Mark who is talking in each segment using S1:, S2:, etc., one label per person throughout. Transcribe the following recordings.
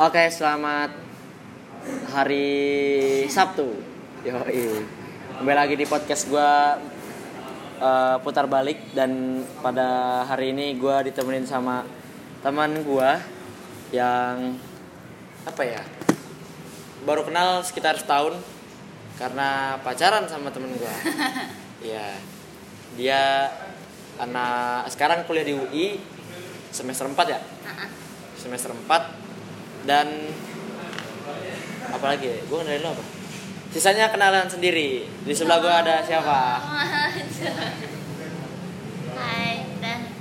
S1: Oke, selamat hari Sabtu. Yoi. Kembali lagi di podcast gua eh, putar balik dan pada hari ini gua ditemenin sama teman gua yang apa ya? Baru kenal sekitar setahun karena pacaran sama temen gua. Iya. Dia anak sekarang kuliah di UI semester 4 ya? semester 4 dan apalagi ya? gue kenalin lo apa sisanya kenalan sendiri di sebelah gue ada siapa
S2: Hai, dan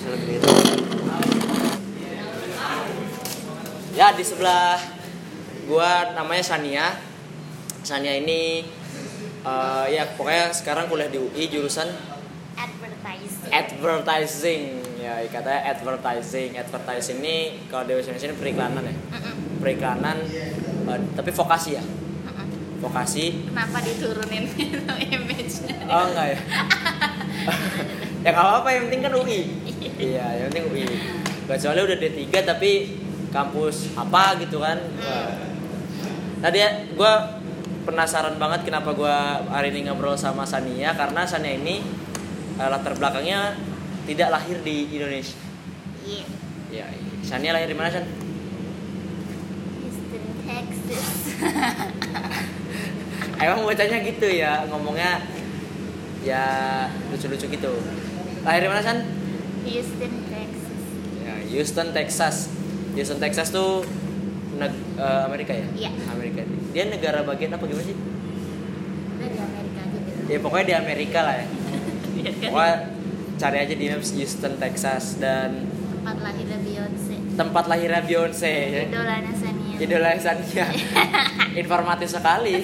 S1: Selebriti. ya di sebelah gue namanya Sania Sania ini eh, ya pokoknya sekarang kuliah di UI jurusan
S2: advertising.
S1: advertising ya katanya advertising advertising ini kalau di Indonesia ini periklanan ya
S2: Mm-mm,
S1: periklanan eh, tapi vokasi ya
S2: mm-mm.
S1: vokasi
S2: Kenapa diturunin itu image-nya?
S1: Oh enggak ya. ya nggak apa-apa yang penting kan UI. iya, yang penting UI. Gak soalnya udah D3 tapi kampus apa gitu kan. Tadi gue penasaran banget kenapa gue hari ini ngobrol sama Sania karena Sania ini eh, latar belakangnya tidak lahir di Indonesia.
S2: Iya,
S1: Ya, Sania lahir di mana San?
S2: Houston, Texas.
S1: Emang bacanya gitu ya ngomongnya ya lucu-lucu gitu. Lahir di mana San?
S2: Houston, Texas.
S1: Ya, Houston, Texas. Houston, Texas tuh neg- eh, Amerika ya?
S2: Iya.
S1: Amerika. Dia negara bagian apa gimana sih?
S2: Udah di Amerika gitu.
S1: Ya pokoknya di Amerika lah ya.
S2: Iya kan?
S1: Pokoknya cari aja di maps Houston, Texas dan
S2: Tempat lahirnya Beyonce.
S1: tempat lahirnya Beyonce.
S2: Idolanya Sania.
S1: Idola Sania. Informatif sekali.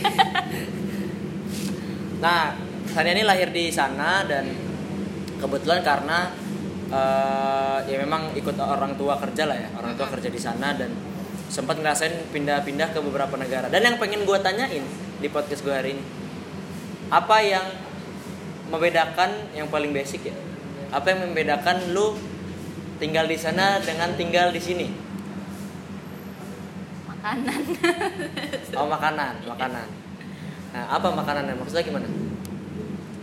S1: nah, Sania ini lahir di sana dan kebetulan karena eh, ya memang ikut orang tua kerja lah ya orang tua kerja di sana dan sempat ngerasain pindah-pindah ke beberapa negara dan yang pengen gue tanyain di podcast gue hari ini apa yang membedakan yang paling basic ya apa yang membedakan lu tinggal di sana dengan tinggal di sini
S2: Makanan.
S1: oh makanan makanan nah apa makanannya maksudnya gimana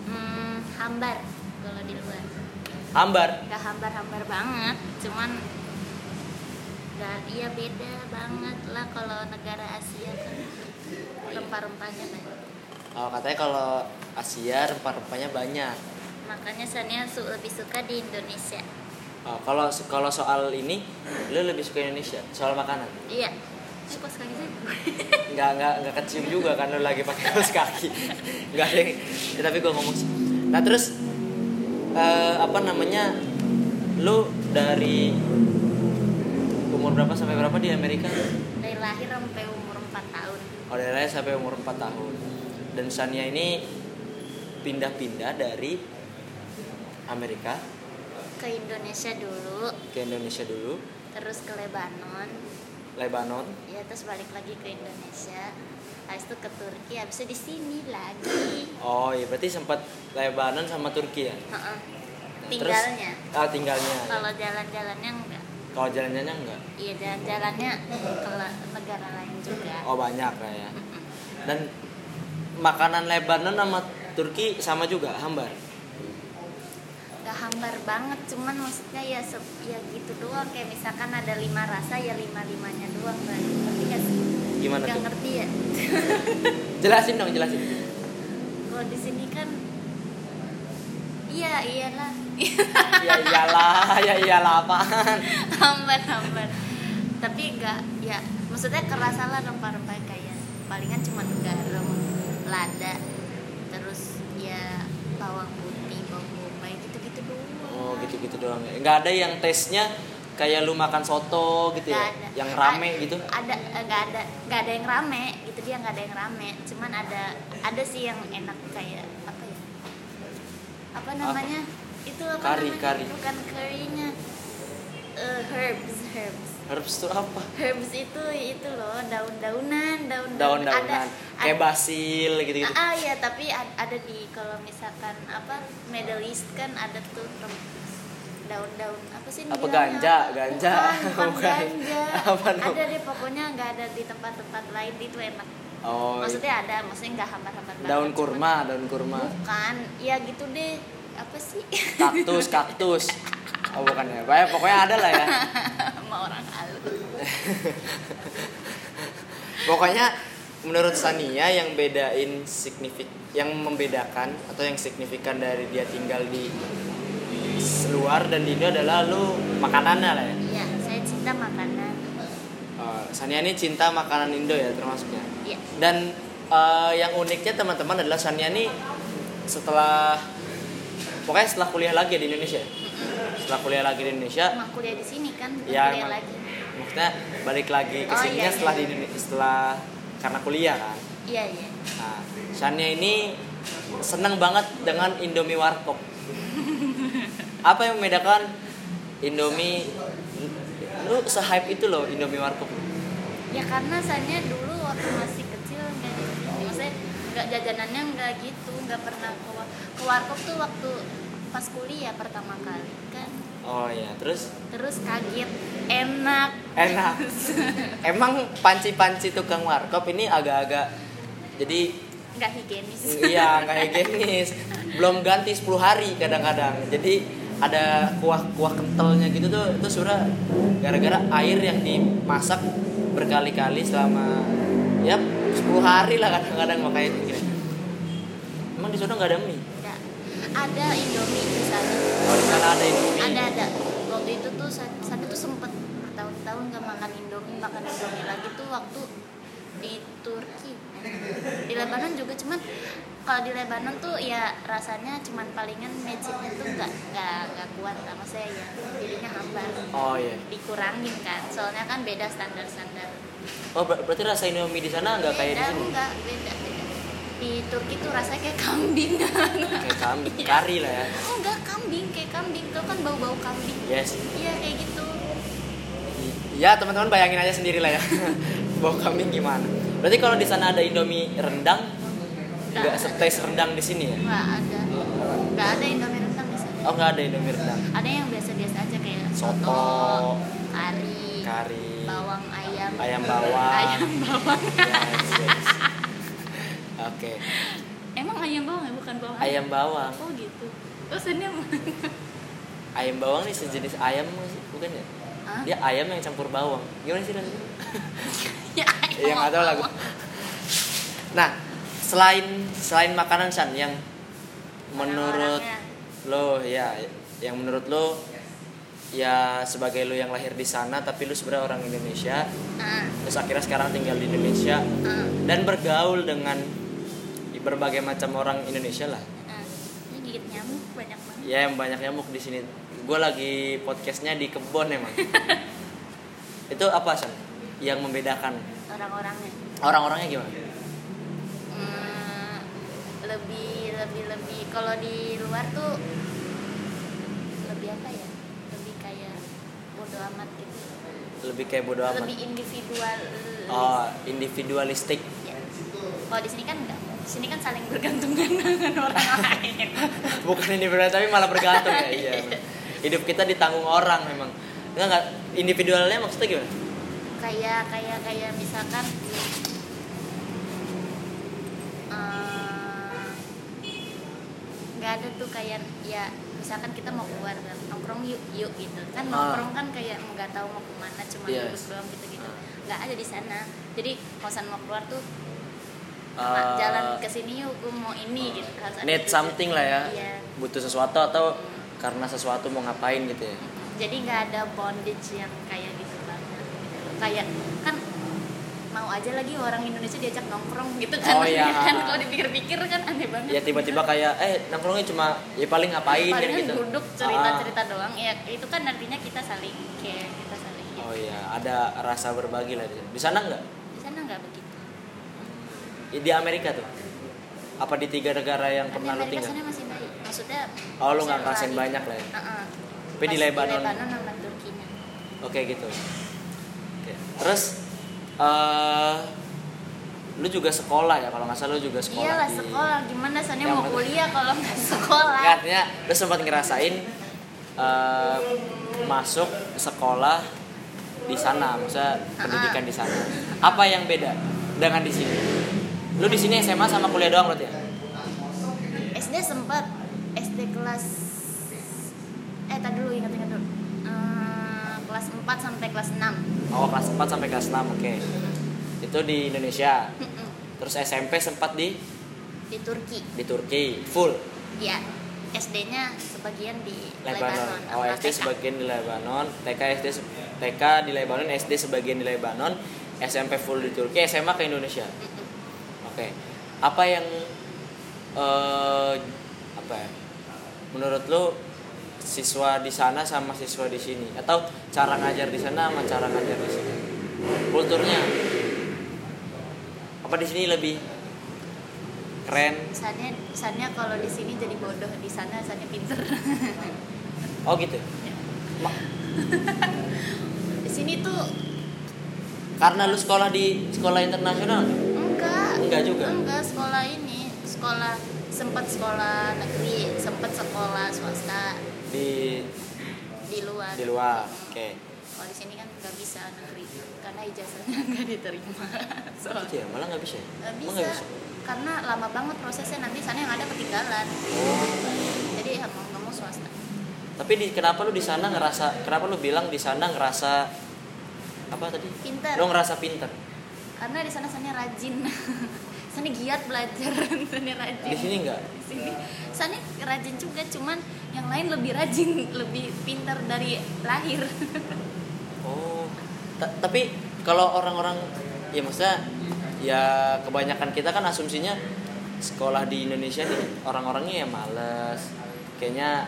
S2: Hmm, hambar kalau di luar.
S1: hambar
S2: Gak hambar-hambar banget, cuman Gak, iya beda banget lah kalau negara Asia kan rempah-rempahnya kan
S1: oh, katanya kalau Asia rempah-rempahnya banyak
S2: makanya Sania su lebih suka di Indonesia
S1: Oh, kalau kalau soal ini, lu lebih suka Indonesia soal makanan.
S2: iya eh, kok sekali sih
S1: Nggak nggak nggak kecium juga kan lu lagi pakai kaos kaki. Nggak ada yang, ya, tapi gua ngomong. sih. Nah terus eh, apa namanya? Lu dari umur berapa sampai berapa di Amerika?
S2: dari lahir sampai umur 4 tahun
S1: Oh dari lahir sampai umur 4 tahun. Dan Sania ini pindah-pindah dari Amerika
S2: ke Indonesia dulu
S1: ke Indonesia dulu,
S2: terus ke Lebanon
S1: Lebanon,
S2: ya terus balik lagi ke Indonesia habis itu ke Turki habis itu di sini lagi
S1: Oh iya berarti sempat Lebanon sama Turki ya?
S2: Heeh.
S1: Terus-
S2: tinggalnya
S1: ah tinggalnya. ya.
S2: kalau jalan-jalannya enggak
S1: Kalau jalan-jalannya enggak?
S2: iya jalan-jalannya ke la- negara lain juga
S1: Oh banyak lah ya. Dan makanan Lebanon sama Turki sama juga hambar.
S2: nggak hambar banget cuman maksudnya ya se- ya gitu doang kayak misalkan ada lima rasa ya lima limanya doang lah ngerti nggak sih
S1: Gimana
S2: nggak
S1: tuh?
S2: ngerti ya
S1: Jelasin dong jelasin.
S2: kalau di sini kan iya iyalah
S1: ya iyalah, ya iyalah apaan?
S2: hambar hambar tapi nggak ya maksudnya kerasa lah rempah-rempah kayak ya. palingan cuma garam lada terus ya bawang putih bawang bombay gitu-gitu doang
S1: Oh gitu-gitu doang. ya. Nggak ada yang tesnya kayak lu makan soto gitu ya?
S2: Nggak ada.
S1: Yang rame gitu?
S2: ada eh, nggak ada nggak ada yang rame gitu dia nggak ada yang rame cuman ada ada sih yang enak kayak apa ya apa namanya itu apa
S1: Kari,
S2: namanya?
S1: kari.
S2: bukan currynya Eh, herbs herbs
S1: Herbs tuh apa?
S2: herbs itu itu loh daun-daunan daun
S1: Daun-daunan. Kayak basil gitu-gitu.
S2: Ah, ah, ya tapi ad- ada di kalau misalkan apa Middle East kan ada tuh rem- daun-daun apa sih
S1: Apa
S2: bilangnya? Ah,
S1: ganja? Ganja.
S2: bukan, bukan
S1: Bukan.
S2: ganja
S1: Apa dong?
S2: ada deh pokoknya nggak ada di tempat-tempat lain itu enak
S1: Oh,
S2: maksudnya ada maksudnya nggak hambar-hambar banget,
S1: daun
S2: cuman-
S1: kurma, daun kurma.
S2: bukan ya gitu deh apa sih
S1: Kaktus, kaktus. Oh, bukan ya. Pokoknya- Pokoknya ada lah ya.
S2: sama orang halus
S1: Pokoknya menurut Sania yang bedain signifik yang membedakan atau yang signifikan dari dia tinggal di luar dan di Indo adalah lu makanannya lah ya.
S2: ya saya cinta makanan
S1: Eh, Sania ini cinta makanan Indo ya termasuknya.
S2: ya
S1: Dan eh, yang uniknya teman-teman adalah Sania ini setelah pokoknya setelah kuliah lagi di Indonesia. ya? Setelah kuliah lagi di Indonesia,
S2: emang kuliah di sini kan bukan
S1: Ya,
S2: kuliah
S1: emang.
S2: lagi
S1: maksudnya balik lagi ke
S2: Oh,
S1: sini
S2: iya,
S1: setelah
S2: iya.
S1: di Indonesia setelah karena kuliah kan.
S2: iya iya
S1: Nah, Shania ini senang banget dengan Indomie warkop. Apa yang membedakan Indomie lu se-hype itu loh Indomie warkop.
S2: ya karena saya dulu waktu masih kecil nggak gitu. maksudnya nggak jajanannya nggak gitu nggak pernah ke, wa- ke warkop tuh waktu pas kuliah pertama kali kan
S1: Oh iya, terus
S2: terus kaget enak
S1: enak. Emang panci-panci tukang warkop ini agak-agak jadi
S2: nggak higienis
S1: iya nggak higienis belum ganti 10 hari kadang-kadang jadi ada kuah-kuah kentalnya gitu tuh itu sudah gara-gara air yang dimasak berkali-kali selama ya 10 hari lah kadang-kadang makanya itu kira emang di sana nggak ada mie
S2: Nggak. ada indomie di sana
S1: oh di sana ada indomie
S2: ada ada waktu itu tuh saya, saya tuh sempet bertahun-tahun nggak makan indomie makan indomie lagi tuh waktu di Turki di Lebanon juga cuman kalau di Lebanon tuh ya rasanya cuman palingan mecinnya tuh nggak nggak nggak kuat sama saya ya jadinya hambar
S1: oh iya
S2: dikurangin kan soalnya kan beda standar standar
S1: oh ber- berarti rasa indomie di sana nggak kayak di
S2: beda
S1: sini
S2: nggak beda beda di Turki tuh rasanya kayak kambing
S1: kayak kambing kari lah ya
S2: enggak kambing kayak kambing tuh kan bau bau kambing
S1: yes
S2: iya kayak gitu
S1: ya teman-teman bayangin aja sendiri lah ya bau kambing gimana berarti kalau di sana ada indomie rendang nggak setes rendang di sini ya
S2: Nggak ada. Nggak ada Indomie rendang di sana.
S1: oh nggak ada indomie rendang
S2: Ada yang biasa-biasa aja kayak
S1: Soto,
S2: soto, kari,
S1: kari
S2: bawang ayam,
S1: ayam bawang
S2: ayam bawang.
S1: Yes, yes. oke
S2: Emang ayam bawang ya bukan bawang
S1: ayam bawang
S2: Oh gitu. Terus ini emang-
S1: ayam bawang nih sejenis ayam nggak sih? bukan ya
S2: Hah?
S1: dia ayam yang campur bawang gimana sih rasanya
S2: ya, ayam
S1: yang ada lagu
S2: bawang.
S1: nah selain selain makanan san yang menurut
S2: Orang-orangnya.
S1: lo ya yang menurut lo ya sebagai lo yang lahir di sana tapi lo sebenarnya orang Indonesia
S2: Ah,
S1: terus akhirnya sekarang tinggal di Indonesia
S2: ah,
S1: dan bergaul dengan berbagai macam orang Indonesia lah
S2: ah. Ini gigit nyamuk banyak banget.
S1: ya yang banyak nyamuk di sini gue lagi podcastnya di kebon emang itu apa sih yang membedakan
S2: Orang-orangnya.
S1: orang-orangnya gimana
S2: Hmm, lebih lebih lebih kalau di luar tuh lebih apa ya lebih kayak bodo amat gitu
S1: lebih kayak bodo amat
S2: lebih individual
S1: oh individualistik
S2: ya. kalau di sini kan enggak di sini kan saling bergantungan dengan orang lain
S1: bukan individual tapi malah bergantung ya iya emang. hidup kita ditanggung orang memang enggak enggak individualnya maksudnya gimana
S2: kayak kayak kayak misalkan eh, nggak ada tuh kayak ya misalkan kita mau keluar kan, nongkrong yuk yuk gitu kan
S1: Ah.
S2: nongkrong kan kayak nggak tahu mau kemana cuma
S1: Yes.
S2: duduk doang gitu gitu
S1: Ah.
S2: nggak ada di sana jadi kosan mau keluar tuh
S1: Eh,
S2: jalan ke sini yuk gue mau ini gitu harus ada
S1: need
S2: tujuan.
S1: something lah ya
S2: Iya.
S1: butuh sesuatu atau karena sesuatu mau ngapain gitu ya
S2: jadi nggak ada bondage yang kayak gitu banget gitu loh. kayak kan mau aja lagi orang Indonesia diajak nongkrong gitu
S1: Oh,
S2: kan
S1: iya.
S2: kan kalau dipikir-pikir kan aneh banget
S1: ya tiba-tiba kayak eh nongkrongnya cuma ya paling ngapain
S2: paling
S1: kan
S2: kan
S1: gitu
S2: duduk
S1: Ah.
S2: cerita-cerita doang ya itu kan artinya kita saling care kita saling ya.
S1: oh iya ada rasa berbagi lah di sana. di sana nggak
S2: di sana nggak begitu
S1: di Amerika tuh apa di tiga negara yang
S2: tapi
S1: pernah lu
S2: Amerika
S1: tinggal
S2: sana gitu. masih baik maksudnya
S1: Oh, lu nggak
S2: selain-
S1: ngerasain banyak lah ya?
S2: Heeh.
S1: Tapi di
S2: Pas
S1: Lebanon.
S2: Lebanon sama Turkinya
S1: Oke gitu. Oke. Terus eh lu juga sekolah ya kalau nggak salah lu juga sekolah.
S2: iyalah
S1: di-
S2: sekolah gimana sana
S1: Yang
S2: mau
S1: penting-
S2: kuliah kalau nggak sekolah
S1: Nggak, artinya lu sempat ngerasain eh, masuk sekolah di sana, maksudnya pendidikan di sana. Apa yang beda dengan di sini? Lu di sini SMA sama kuliah doang berarti ya?
S2: SD sempat SD kelas eh tadi dulu ingat ingat dulu Eh, kelas 4 sampai kelas 6
S1: Oh, kelas 4 sampai kelas 6, oke. Itu di Indonesia. Terus SMP sempat di
S2: di Turki
S1: di Turki, full
S2: ya SD-nya sebagian di
S1: Lebanon.
S2: Lebanon,
S1: Oh,
S2: sama TK.
S1: SD sebagian di Lebanon, TK SD se- TK di Lebanon, SD sebagian di Lebanon, SMP full di Turki, SMA ke Indonesia.
S2: Mm-mm.
S1: Oke. Apa yang eh apa ya? Menurut lu siswa di sana sama siswa di sini atau cara ngajar di sana sama cara ngajar di sini? Kulturnya apa di sini lebih keren?
S2: Kesannya, kesannya kalau di sini jadi bodoh, di sana kesannya pinter.
S1: Oh gitu. Ma-
S2: di sini tuh
S1: Karena lu sekolah di sekolah internasional.
S2: enggak.
S1: Enggak juga?
S2: Enggak, sekolah ini, sekolah sempat sekolah negeri, sempat sekolah swasta
S1: di
S2: di luar.
S1: di luar oke
S2: Kalau di sini kan nggak bisa negeri karena ijazahnya nggak diterima.
S1: Gitu
S2: Soalnya
S1: ya malah nggak bisa ya?
S2: nggak
S1: Emang
S2: bisa karena lama banget prosesnya nanti sana yang ada ketinggalan.
S1: Oh.
S2: Jadi ya mau nggak mau swasta.
S1: tapi di, kenapa lu di sana ngerasa kenapa lu bilang di sana ngerasa apa tadi
S2: Pinter.
S1: lu ngerasa pinter
S2: Karena di sana sana rajin. sana giat belajar, sana rajin.
S1: di sini enggak
S2: di sini sana rajin juga cuman yang lain lebih rajin lebih pintar dari lahir
S1: oh Ta- tapi kalau orang-orang ya maksudnya ya kebanyakan kita kan asumsinya sekolah di Indonesia nih orang-orangnya ya males kayaknya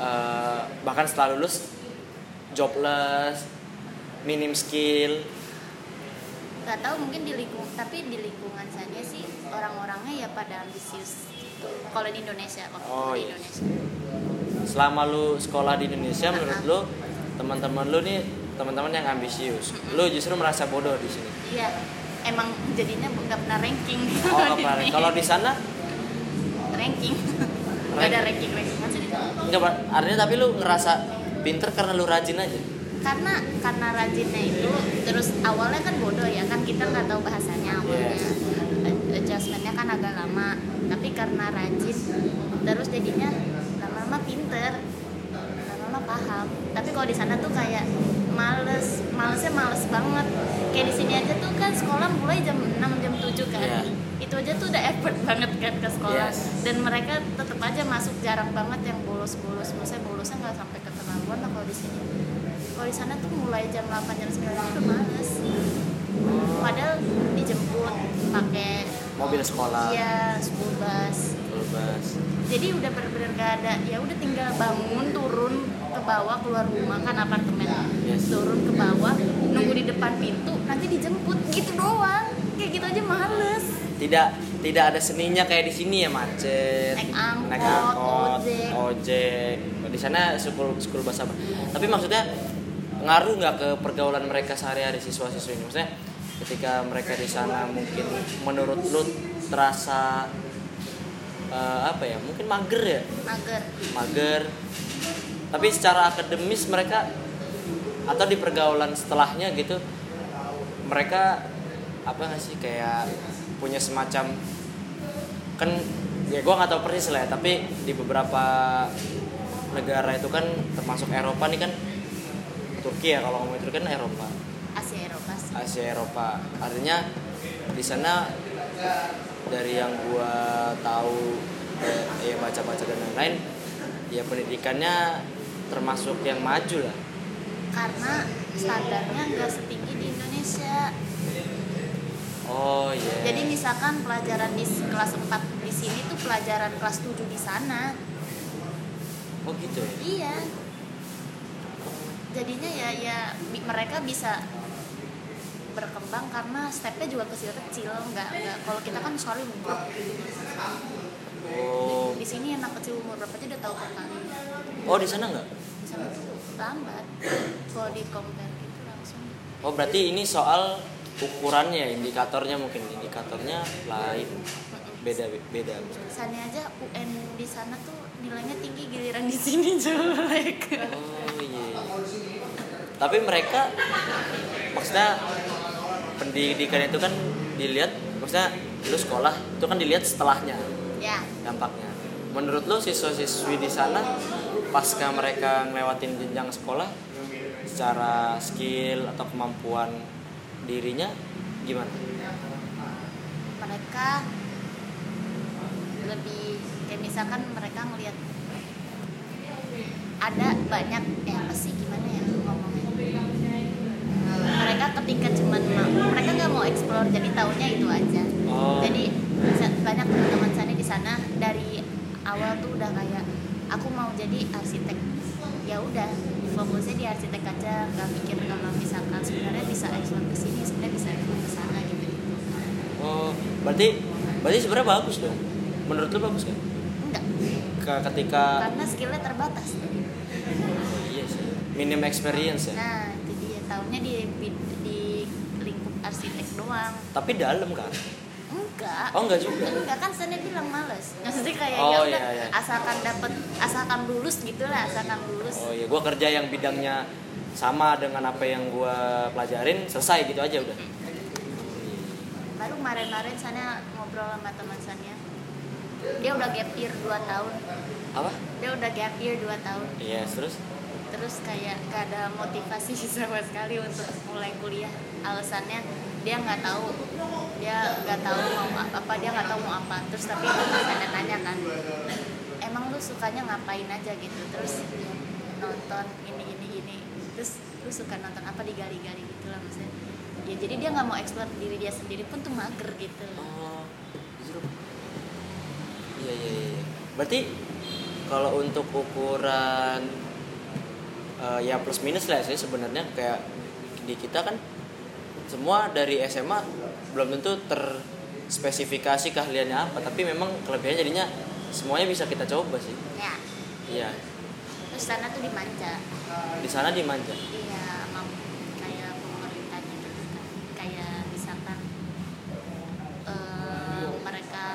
S1: eh, bahkan setelah lulus jobless minim skill
S2: nggak tahu mungkin di lingkung tapi di lingkungan saja sih orang-orangnya ya pada ambisius gitu. kalau di Indonesia waktu
S1: Oh,
S2: di
S1: iya.
S2: Indonesia
S1: selama lu sekolah di Indonesia menurut lu teman-teman lu nih teman-teman yang ambisius lu justru merasa bodoh di sini
S2: iya emang jadinya nggak pernah ranking
S1: oh nggak pernah. kalau di sana
S2: ranking nggak ada ranking ranking
S1: nggak Pak. artinya tapi lu ngerasa pinter karena lu rajin aja
S2: karena karena rajinnya itu terus awalnya kan bodoh ya kan kita nggak tahu bahasanya awalnya
S1: Yes.
S2: Ad- adjustmentnya kan agak lama tapi karena rajin terus jadinya lama-lama pinter lama-lama paham tapi kalau di sana tuh kayak males malesnya males banget kayak di sini aja tuh kan sekolah mulai jam 6 jam 7 kan
S1: Iya.
S2: itu aja tuh udah effort banget kan ke sekolah
S1: Yes.
S2: dan mereka tetap aja masuk jarang banget yang bolos-bolos maksudnya bolosnya nggak sampai keterlaluan lah kalau di sini kalau di sana tuh mulai jam 8 jam 9 udah males padahal dijemput pakai
S1: mobil sekolah
S2: ya school bus
S1: School bus.
S2: jadi udah bener-bener gak ada ya udah tinggal bangun turun ke bawah keluar rumah kan apartemen
S1: Yes.
S2: turun ke bawah nunggu di depan pintu nanti dijemput gitu doang kayak gitu aja males
S1: tidak tidak ada seninya kayak di sini ya macet
S2: Naik angkot,
S1: ojek, di sana school school bahasa apa tapi maksudnya ngaruh nggak ke pergaulan mereka sehari-hari siswa-siswi ini maksudnya ketika mereka di sana mungkin menurut lu terasa eh, apa ya mungkin mager ya
S2: mager
S1: mager tapi secara akademis mereka atau di pergaulan setelahnya gitu mereka apa nggak sih kayak punya semacam kan ya gue nggak tahu persis lah ya, tapi di beberapa negara itu kan termasuk Eropa nih kan Turki ya kalau ngomongin Turki kan Eropa
S2: Asia Eropa sih
S1: Asia Eropa artinya di sana dari yang gua tahu eh, ya baca-baca dan lain-lain ya pendidikannya termasuk yang maju lah
S2: karena standarnya gak setinggi di Indonesia
S1: oh iya
S2: Jadi misalkan pelajaran di s- kelas 4 di sini tuh pelajaran kelas 7 di sana.
S1: oh gitu ya
S2: Iya. Jadinya ya ya bi- mereka bisa berkembang karena stepnya juga kecil-kecil nggak nggak kalau kita kan sorry umur
S1: oh
S2: di sini anak kecil umur berapa aja udah tahu perkalian
S1: oh di sana nggak
S2: di sana tuh lambat kalau di compare gitu langsung
S1: oh berarti ini soal ukurannya indikatornya mungkin indikatornya lain
S2: Mm-mm.
S1: beda beda
S2: jurusannya aja UN di sana tuh nilainya tinggi giliran di sini jelek
S1: oh iya tapi mereka maksudnya pendidikan itu kan dilihat maksudnya lu sekolah itu kan dilihat setelahnya
S2: ya
S1: dampaknya menurut lu siswa-siswi di sana pasca mereka ngelewatin jenjang sekolah secara skill atau kemampuan dirinya gimana
S2: mereka lebih kayak misalkan mereka ngelihat ada banyak ya apa sih gimana ya ngomongnya Eh, mereka ketika cuman mau mereka nggak mau explore jadi tahunya itu aja
S1: Oh.
S2: jadi bisa- banyak teman-teman saya di sana dari awal tuh udah kayak aku mau jadi arsitek ya udah fokusnya di arsitek aja nggak mikir kalau misalkan sebenarnya bisa explore ke sini sebenarnya bisa explore ke sana gitu gitu
S1: oh berarti berarti sebenarnya bagus dong menurut lu bagus kan
S2: enggak
S1: Ke- ketika
S2: karena skillnya terbatas
S1: iya sih, minim experience ya
S2: nah itu dia tahunnya di bid- di lingkup arsitek doang
S1: tapi dalam kan
S2: enggak
S1: oh enggak juga
S2: enggak kan saya bilang males maksudnya kayak
S1: Oh,
S2: ya
S1: iya,
S2: udah
S1: iya.
S2: asalkan dapat asalkan lulus gitulah asalkan lulus
S1: oh iya gua kerja yang bidangnya sama dengan apa yang gua pelajarin selesai gitu aja udah
S2: baru kemarin-kemarin sana ngobrol sama teman saya dia udah gap year 2 tahun
S1: apa
S2: dia udah gap year 2 tahun
S1: iya terus
S2: terus kayak gak ada motivasi sama sekali untuk mulai kuliah alasannya dia nggak tahu dia nggak tahu mau a- apa dia nggak tahu mau apa terus tapi ada tanya kan emang lu sukanya ngapain aja gitu terus nonton ini ini ini terus lu suka nonton apa digali-gali gitu lah maksudnya ya jadi dia nggak mau eksplor diri dia sendiri pun tuh mager gitu
S1: Oh, justru. Iya, iya, iya. Berarti kalau untuk ukuran eh, ya plus minus lah sih sebenarnya kayak di kita kan semua dari SMA belum tentu terspesifikasi keahliannya apa, tapi memang kelebihannya jadinya semuanya bisa kita coba sih.
S2: ya
S1: Iya,
S2: terus sana tuh dimanja
S1: di sana dimanja.
S2: Iya, mau kayak pemerintahnya gitu kan. Kayak misalkan eh, mereka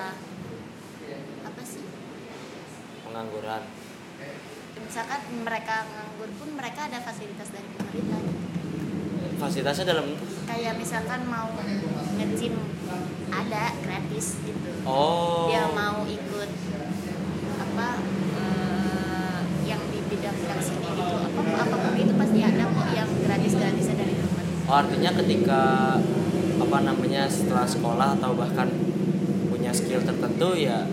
S2: apa sih?
S1: Pengangguran.
S2: Misalkan mereka nganggur pun mereka ada fasilitas dari pemerintah.
S1: Fasilitasnya dalam
S2: Kayak misalkan mau ngecim ada gratis gitu.
S1: Oh.
S2: Dia mau ikut apa eh, yang di bidang-bidang sini gitu apa apapun itu pasti ada kok yang gratis-gratisnya dari pemerintah.
S1: Oh, artinya ketika apa namanya setelah sekolah atau bahkan punya skill tertentu ya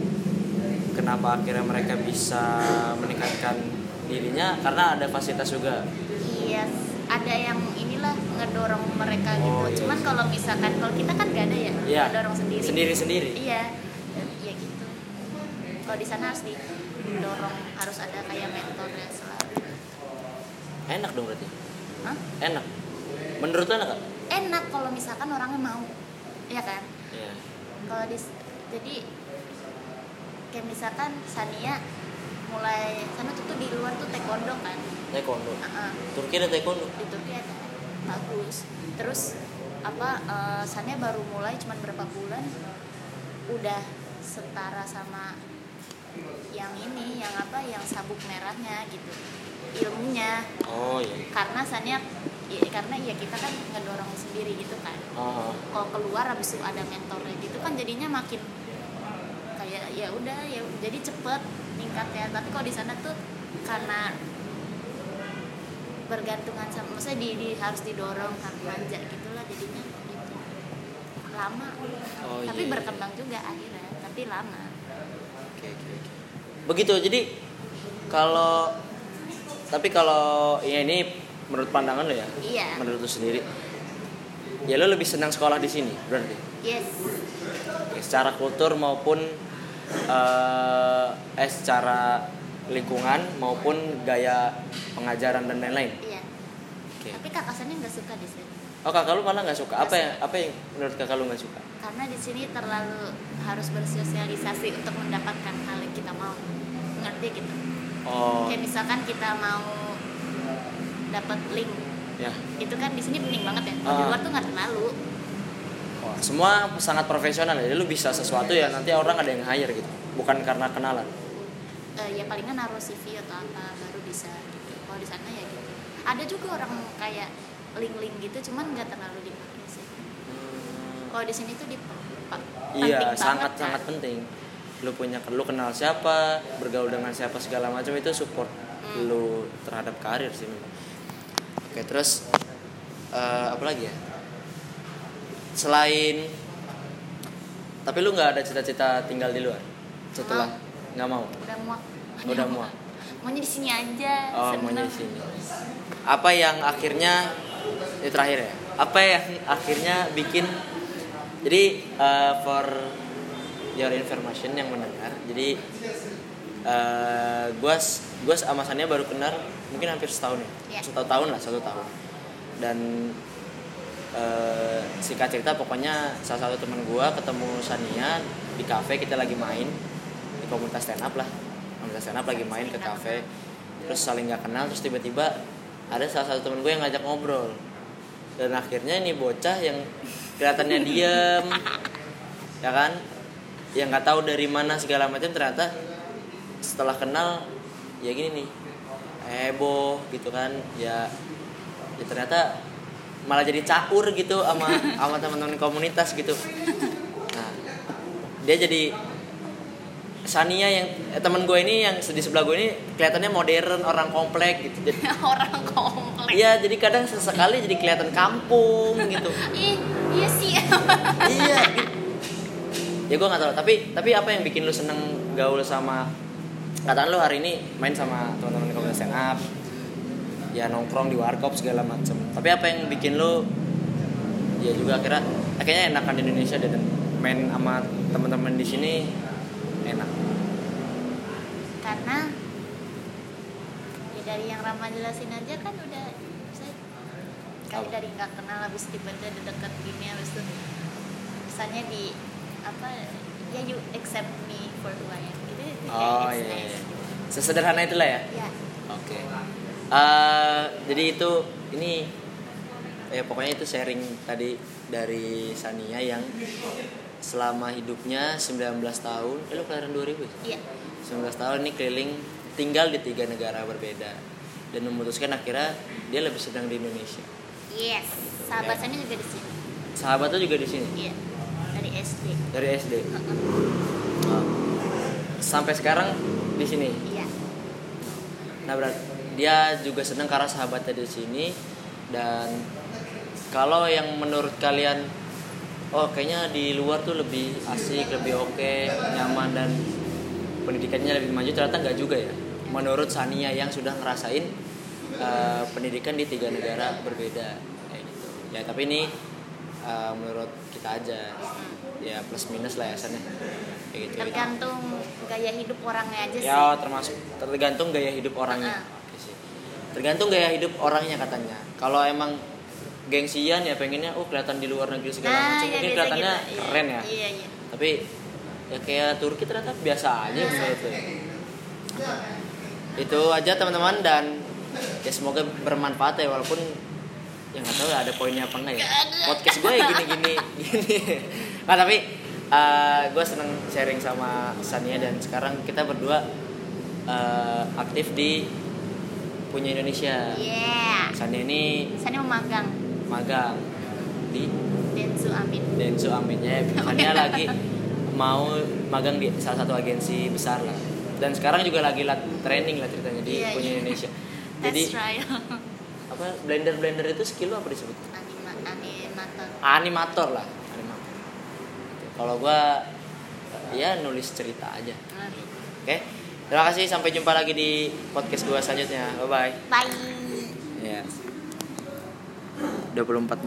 S1: kenapa akhirnya mereka bisa meningkatkan dirinya karena ada fasilitas juga
S2: Iya, ada yang inilah ngedorong mereka gitu.
S1: Oh, iya.
S2: Cuman kalau misalkan kalau kita kan gak ada ya,
S1: Iya.
S2: ngedorong sendiri.
S1: sendiri sendiri
S2: Iya, ya gitu. Kalau di sana harus didorong, harus ada kayak mentornya selalu.
S1: enak dong berarti
S2: Hah?
S1: enak menurut lo enak gak?
S2: Enak kalau misalkan orangnya mau, ya kan?
S1: Iya.
S2: Kalau di jadi kayak misalkan Sania mulai sana tuh, tuh di luar tuh taekwondo kan.
S1: taekwondo
S2: Heeh.
S1: Turki ada taekwondo
S2: di Turki ada bagus terus apa eh, Sania baru mulai cuman berapa bulan udah setara sama yang ini yang apa yang sabuk merahnya gitu ilmunya
S1: oh iya
S2: karena Sania i- karena ya kita kan ngedorong sendiri gitu kan
S1: oh
S2: kalau keluar habis itu ada mentornya gitu kan jadinya makin kayak ya udah ya jadi cepet meningkatnya tapi kalau di sana tuh karena bergantungan sama maksudnya di, di- harus didorong harus manja gitulah jadinya gitu lama
S1: Oh,
S2: tapi
S1: iya.
S2: berkembang juga akhirnya tapi lama
S1: Oke, oke, oke. Begitu. Jadi kalau tapi kalau ya ini menurut pandangan lo ya?
S2: Iya.
S1: Menurut lo sendiri. Ya lo lebih senang sekolah di sini berarti.
S2: yes
S1: Oke, secara kultur maupun eh eh, secara lingkungan maupun gaya pengajaran dan lain-lain.
S2: iya
S1: Oke.
S2: tapi kakak Sania nggak suka di sini
S1: Oh, kakak lu malah nggak suka. Apa yang apa yang menurut kakak lu nggak suka?
S2: karena di sini terlalu harus bersosialisasi untuk mendapatkan hal yang kita mau ngerti gitu
S1: Oh,
S2: kayak misalkan kita mau dapat link
S1: ya.
S2: itu kan di sini penting banget ya kalau di
S1: Ah.
S2: luar tuh nggak terlalu
S1: Wah, semua sangat profesional ya. Jadi lu bisa sesuatu ya nanti orang ada yang hire gitu. Bukan karena kenalan.
S2: Eh, ya palingan naruh CV atau apa baru bisa gitu. kalau di sana ya gitu ada juga orang kayak link-link gitu cuman nggak terlalu dipakai sih kalau di sini tuh dipak
S1: Hmm, Iya, sangat sangat penting. Lu punya lu kenal siapa, bergaul dengan siapa segala macam itu support
S2: Hmm.
S1: lu terhadap karir sih. memang. Oke, terus eh, apa lagi ya? Selain tapi lu nggak ada cita-cita tinggal di luar setelah nggak mau
S2: udah muak
S1: udah muak
S2: maunya di sini aja
S1: oh
S2: seneng.
S1: maunya di sini apa yang akhirnya ini terakhir ya apa yang akhirnya bikin jadi eh, for your information yang mendengar jadi eh gue gue sama Sania baru kenal mungkin hampir setahun ya
S2: Iya.
S1: satu tahun lah satu tahun dan eh singkat cerita pokoknya salah satu teman gue ketemu Sania di kafe kita lagi main di komunitas stand up lah komunitas stand up lagi main ke kafe terus saling nggak kenal terus tiba-tiba ada salah satu temen gue yang ngajak ngobrol dan akhirnya ini bocah yang kelihatannya diem ya kan yang nggak tahu dari mana segala macam ternyata setelah kenal ya gini nih heboh gitu kan ya, ya ternyata malah jadi caur gitu sama sama teman-teman komunitas gitu nah dia jadi Sania yang eh, teman gue ini yang di sebelah gue ini kelihatannya modern orang komplek gitu Jadi-
S2: orang komplek
S1: Iya, jadi kadang sesekali jadi kelihatan kampung gitu.
S2: ih iya sih
S1: iya. gitu. Ya gue nggak tahu, tapi tapi apa yang bikin lu seneng gaul sama kataan lu hari ini main sama teman-teman di komunitas stand up, ya nongkrong di warkop segala macem. Tapi apa yang bikin lu ya juga akhirnya akhirnya enakan di Indonesia dan main sama teman-teman di sini enak.
S2: karena ya dari yang Rama jelasin aja kan udah saya kali
S1: Apa?
S2: dari nggak kenal habis tiba-tiba ada dekat gini habis itu misalnya di apa ya you accept me for who I am gitu itu kayak
S1: Oh
S2: it's
S1: iya. iya.
S2: nice.
S1: Sesederhana itulah ya.
S2: ya
S1: Oke. Eh, jadi itu ini ya pokoknya itu sharing tadi dari Sania yang selama hidupnya 19 tahun, eh lu kelahiran 2000 ya?
S2: iya
S1: 19 tahun ini keliling tinggal di tiga negara berbeda dan memutuskan akhirnya dia lebih sedang di Indonesia.
S2: yes sahabat saya juga di sini
S1: Sahabatnya juga di sini
S2: iya dari SD
S1: dari SD.
S2: Heeh.
S1: Oh. Sampai sekarang di sini.
S2: iya
S1: Nah berat dia juga seneng karena sahabatnya di sini dan kalau yang menurut kalian oh kayaknya di luar tuh lebih asik lebih oke nyaman dan pendidikannya lebih maju ternyata nggak juga ya menurut Sania yang sudah ngerasain eh, pendidikan di tiga negara berbeda kayak gitu ya tapi ini eh, menurut kita aja ya plus minus lah ya San, ya. kayak gitu
S2: tergantung gaya hidup orangnya aja sih
S1: Ya termasuk tergantung gaya hidup orangnya.
S2: Heeh.
S1: sih. Tergantung gaya hidup orangnya katanya. Kalau emang gengsian ya pengennya oh kelihatan di luar negeri segala macam.
S2: ya
S1: Mungkin
S2: biasa
S1: kelihatannya
S2: gitu. Iya.
S1: keren ya.
S2: iya iya
S1: Tapi ya kayak Turki ternyata biasa aja menurut gue. Itu aja teman-teman dan ya semoga bermanfaat ya walaupun yang nggak tahu ya ada poinnya apa enggak ya.
S2: Nggak ada.
S1: Podcast gue ya gini-gini gini. Nah, tapi gue seneng sharing sama Sania dan sekarang kita berdua eh, aktif di Punya Indonesia.
S2: yeah.
S1: Sania ini
S2: Sana memagang
S1: magang di
S2: Densu Amin.
S1: Densu Aminnya misalnya lagi mau magang di salah satu agensi besar lah dan sekarang juga lagi lat training lah ceritanya di
S2: Iya,
S1: punya
S2: iya.
S1: Indonesia
S2: Test
S1: jadi
S2: trial.
S1: apa blender blender itu skill lu apa disebut
S2: Anima, animator.
S1: animator lah animator Gitu. kalau gua ya nulis cerita aja oke terima kasih sampai jumpa lagi di podcast gua selanjutnya bye bye
S2: Bye.
S1: ya 24